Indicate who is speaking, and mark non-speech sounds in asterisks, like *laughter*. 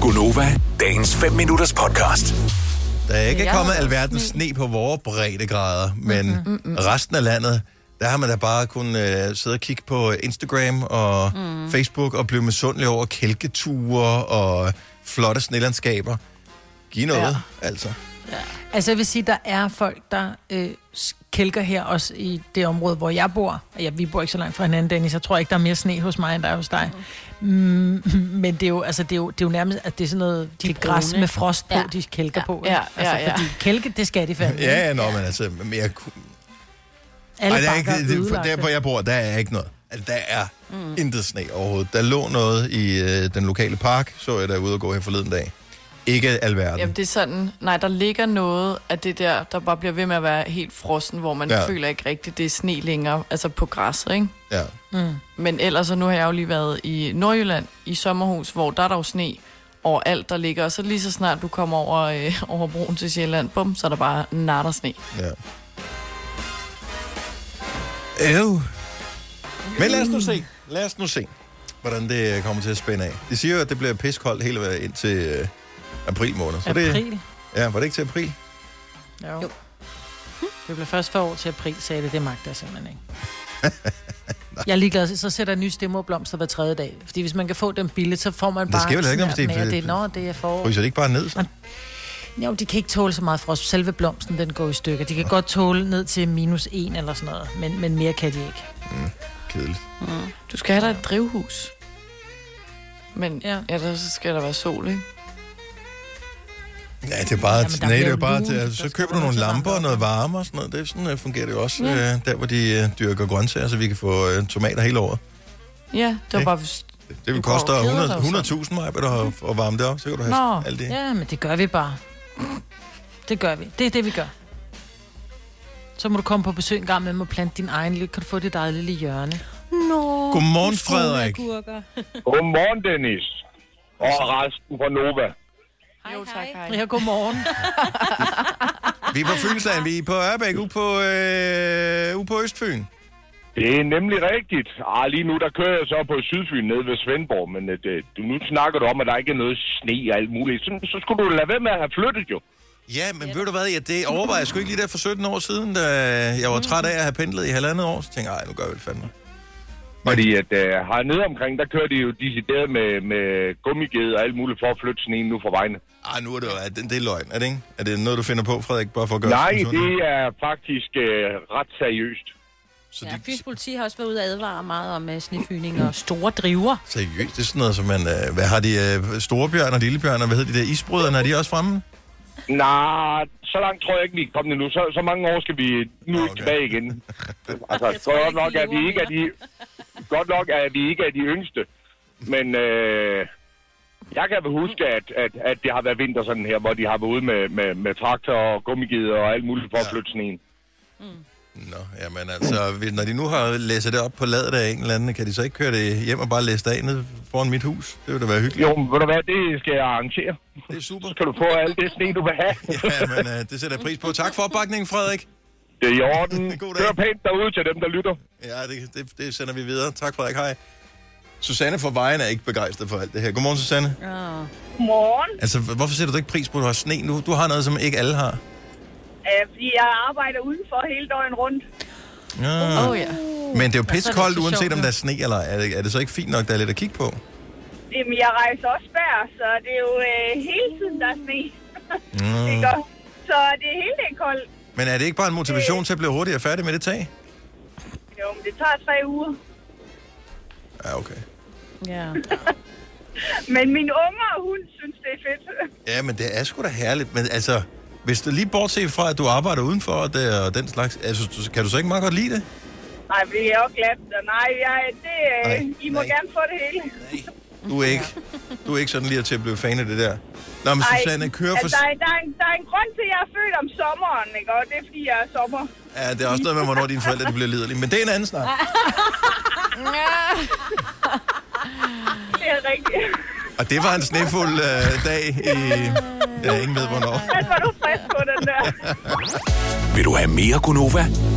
Speaker 1: Gunova, dagens 5 minutters podcast.
Speaker 2: Der er ikke
Speaker 3: Jeg
Speaker 2: kommet
Speaker 3: har
Speaker 2: alverdens sne på vores breddegrader, men resten af landet, der har man da bare kunnet øh, sidde og kigge på Instagram og Facebook og blive misundelig over kælketure og flotte snelandskaber. Giv noget, altså.
Speaker 4: Altså jeg vil sige, der er folk, der øh, kælker her også i det område, hvor jeg bor. Og Ja, vi bor ikke så langt fra hinanden, Dennis. Jeg tror ikke, der er mere sne hos mig, end der er hos dig. Mm, men det er jo, altså, det er jo, det er jo nærmest, at det er sådan noget, de det er græs
Speaker 3: brune.
Speaker 4: med frost på,
Speaker 3: Ja.
Speaker 4: ja. de kælker
Speaker 3: Ja.
Speaker 4: på.
Speaker 3: Ja,
Speaker 4: ikke? altså,
Speaker 3: ja, ja.
Speaker 4: Fordi kælke, det skal de fandme.
Speaker 2: Ja, ja, nå, men altså... Men jeg, ku-
Speaker 4: Alle
Speaker 2: Ej, der er
Speaker 4: bakker
Speaker 2: ikke, det, for
Speaker 4: ødelagte.
Speaker 2: der, hvor jeg bor, der er ikke noget. Altså, der er mm. intet sne overhovedet. Der lå noget i øh, den lokale park, så jeg der ude og gå her forleden dag. Ikke alverden.
Speaker 3: Jamen, det er sådan, nej, der ligger noget af det der, der bare bliver ved med at være helt frossen, hvor man
Speaker 2: Ja.
Speaker 3: ja. føler ikke rigtigt, det er sne længere, altså på græsset, ikke?
Speaker 2: Ja.
Speaker 4: Mm.
Speaker 3: Men ellers, så nu har jeg jo lige været i Nordjylland, i sommerhus, hvor der er der jo sne overalt, der ligger. Og så lige så snart du kommer over, øh, over broen til Sjælland, bum, så er der bare natter sne.
Speaker 2: Ja. Øv. Men lad os nu se. Lad os nu se, hvordan det øh, kommer til at spænde af. De siger jo, at det bliver piskoldt hele vejen indtil øh, april måned. Så Det,
Speaker 4: April.
Speaker 2: ja, var det ikke til april?
Speaker 4: Jo. Det bliver først for år til april, sagde det. Det magter jeg simpelthen ikke. jeg er ligeglad, så sætter jeg nye stemmerblomster hver tredje dag. Fordi hvis man kan få dem billigt, så får man
Speaker 2: Det
Speaker 4: bare...
Speaker 2: skal vel ikke,
Speaker 4: sådan
Speaker 2: hvis det er-
Speaker 4: her med, at det, Nå, det er forår.
Speaker 2: Fryser det ikke bare ned? Så?
Speaker 4: Jo, de kan ikke tåle så meget frost. Selve blomsten, den går i stykker. De kan godt tåle ned til minus 1 eller sådan noget, men, men mere kan de ikke.
Speaker 2: Kedeligt.
Speaker 3: Du skal have dig et drivhus. Men ja.
Speaker 4: Ja.
Speaker 3: ellers så skal der være sol, ikke?
Speaker 2: Ja, det er bare,
Speaker 4: Jamen,
Speaker 2: Jamen,
Speaker 4: der
Speaker 2: nej, det er
Speaker 4: bliver
Speaker 2: jo bare
Speaker 4: lun,
Speaker 2: til,
Speaker 4: der
Speaker 2: altså, så
Speaker 4: skal
Speaker 2: køber du
Speaker 4: være
Speaker 2: nogle
Speaker 4: så varmt
Speaker 2: lamper og
Speaker 4: op.
Speaker 2: noget varme og sådan noget. Det, er sådan øh, fungerer det jo også, øh, der hvor de øh, dyrker grøntsager, så vi kan få øh, tomater hele året.
Speaker 3: Ja, det var
Speaker 2: Ikke?
Speaker 3: bare... hvis-
Speaker 2: Det vil
Speaker 3: Du går og
Speaker 2: koste
Speaker 3: keder dig jo
Speaker 2: 100
Speaker 3: sådan.
Speaker 2: 100.000 mig, at, at varme det op, så kan du have
Speaker 3: Nå,
Speaker 2: alt det.
Speaker 4: Ja, men det gør vi bare. Det gør vi. Det er det, vi gør. Så må du komme på besøg en gang med mig og plante din egen lille. Kan du få dit eget lille hjørne?
Speaker 2: Godmorgen, Frederik.
Speaker 5: Godmorgen, Dennis. Og resten fra Nova.
Speaker 3: Jo, tak, hej.
Speaker 4: Ja, godmorgen.
Speaker 2: Vi er på Fynsland, vi er på Ørbæk, ude på, øh, ude på Østfyn.
Speaker 5: Det er nemlig rigtigt. Ah, lige nu der kører jeg så på Sydfyn nede ved Svendborg, men øh, det, du, nu snakker du om, at der ikke er noget sne og alt muligt. Så, så skulle du lade være med at have flyttet jo.
Speaker 2: Ja, men ved du hvad, ja, det overvejer jeg sgu ikke lige der for 17 år siden, da jeg var træt af at have pendlet i halvandet år, så tænkte jeg, "Ej, nu gør jeg vel fandme.
Speaker 5: Fordi at øh, hernede omkring, der kører de jo decideret med, med gummiged og alt muligt for at flytte sneen nu fra vejene.
Speaker 2: Ej, nu er det jo, er det, det er løgn, er det ikke? Er det noget, du finder på, Frederik, bare for at gøre
Speaker 5: Nej,
Speaker 2: os
Speaker 5: det
Speaker 2: misundelige?
Speaker 5: er faktisk øh, ret seriøst.
Speaker 2: Så
Speaker 6: Ja,
Speaker 2: de,
Speaker 6: Fyns politi har også været ude og advare meget om uh, snefyning og store driver.
Speaker 2: seriøst, det er sådan noget, som man, øh, hvad har de, øh, storebjørn og lillebjørn, og hvad hedder de der isbrøderne, er de også fremme?
Speaker 5: Nej, så langt tror jeg ikke, vi er kommet endnu. Så, så mange år skal vi nu
Speaker 2: Nå,
Speaker 5: okay.
Speaker 2: okay.
Speaker 5: tilbage igen. Altså,
Speaker 6: Jeg tror
Speaker 5: godt
Speaker 6: ikke,
Speaker 5: nok,
Speaker 6: vi
Speaker 5: at vi
Speaker 6: lever
Speaker 5: ikke er de, *laughs* godt nok, at vi ikke er de yngste. Men øh, jeg kan vel huske, at, at, at det har været vinter sådan her, hvor de har været ude med, med, med traktor og gummigider og alt muligt for at
Speaker 2: Ja.
Speaker 5: flytte sneen.
Speaker 2: Nå, jamen altså, hvis- når de nu har læsset det op på ladet af en eller anden, kan de så ikke køre det hjem og bare læse det af nede foran mit hus? Det ville da være hyggeligt.
Speaker 5: Jo, men ved du hvad, det skal jeg arrangere.
Speaker 2: Det er super.
Speaker 5: Så kan du få alt det sne, du vil have.
Speaker 2: Ja, men øh, det sætter jeg pris på. Tak for opbakningen, Frederik.
Speaker 5: Det er i orden.
Speaker 2: God dag.
Speaker 5: Kør pænt derude til dem, der lytter.
Speaker 2: Ja, det, det, det sender vi videre. Tak, Frederik. Hej. Susanne fra Vejen er ikke begejstret for alt det her. Godmorgen, Susanne.
Speaker 6: Oh.
Speaker 7: Morgen,
Speaker 2: Altså, hvorfor sætter du ikke pris på, at du har sne nu? Du har noget, som ikke alle har.
Speaker 7: øh, fordi jeg arbejder udenfor hele døgnet rundt.
Speaker 2: Ja.
Speaker 3: Åh, oh, ja.
Speaker 2: Men det er jo
Speaker 4: så er det
Speaker 2: pissekoldt,
Speaker 4: så sjovt,
Speaker 2: uanset om
Speaker 4: jo.
Speaker 2: der er sne eller ej. er det, er det så ikke fint nok, der er lidt at kigge på?
Speaker 7: Jamen, jeg rejser også bær, så det er jo øh, hele tiden, der er sne.
Speaker 2: Mm.
Speaker 7: *laughs* Det gør. Så det er hele dagen koldt.
Speaker 2: Men er det ikke bare en motivation til at blive hurtigere færdig med det tag?
Speaker 7: Jo, men det tager tre uger.
Speaker 2: Ja, okay.
Speaker 6: Ja.
Speaker 7: Men min unger, hun synes, det er fedt. *laughs*
Speaker 2: Ja, men det er sgu da herligt. Men altså, hvis du lige bortset fra, at du arbejder udenfor og, det, og den slags, altså, du- kan du så ikke meget godt lide det?
Speaker 7: Nej, vi er jo glad. Og nej, jeg, det, øh,
Speaker 2: Nej,
Speaker 7: I må
Speaker 2: nej.
Speaker 7: gerne få det hele.
Speaker 2: Du er ikke, du er ikke sådan lige at til at blive fan af det der. Nå, men Susanne, kør for...
Speaker 7: altså, der, er, der, er en, der er en grund til, at jeg er født om sommeren, ikke? Og det er, fordi jeg er sommer.
Speaker 2: Ja, det er også noget med, hvornår dine forældre de bliver liderlige. Men det er en anden snak.
Speaker 7: Det er rigtigt. *laughs*
Speaker 2: Og det var en snefuld øh, dag i... Ja, ingen ved, hvornår.
Speaker 7: Altså, var du frisk på den der?
Speaker 1: Vil du have mere Gunova?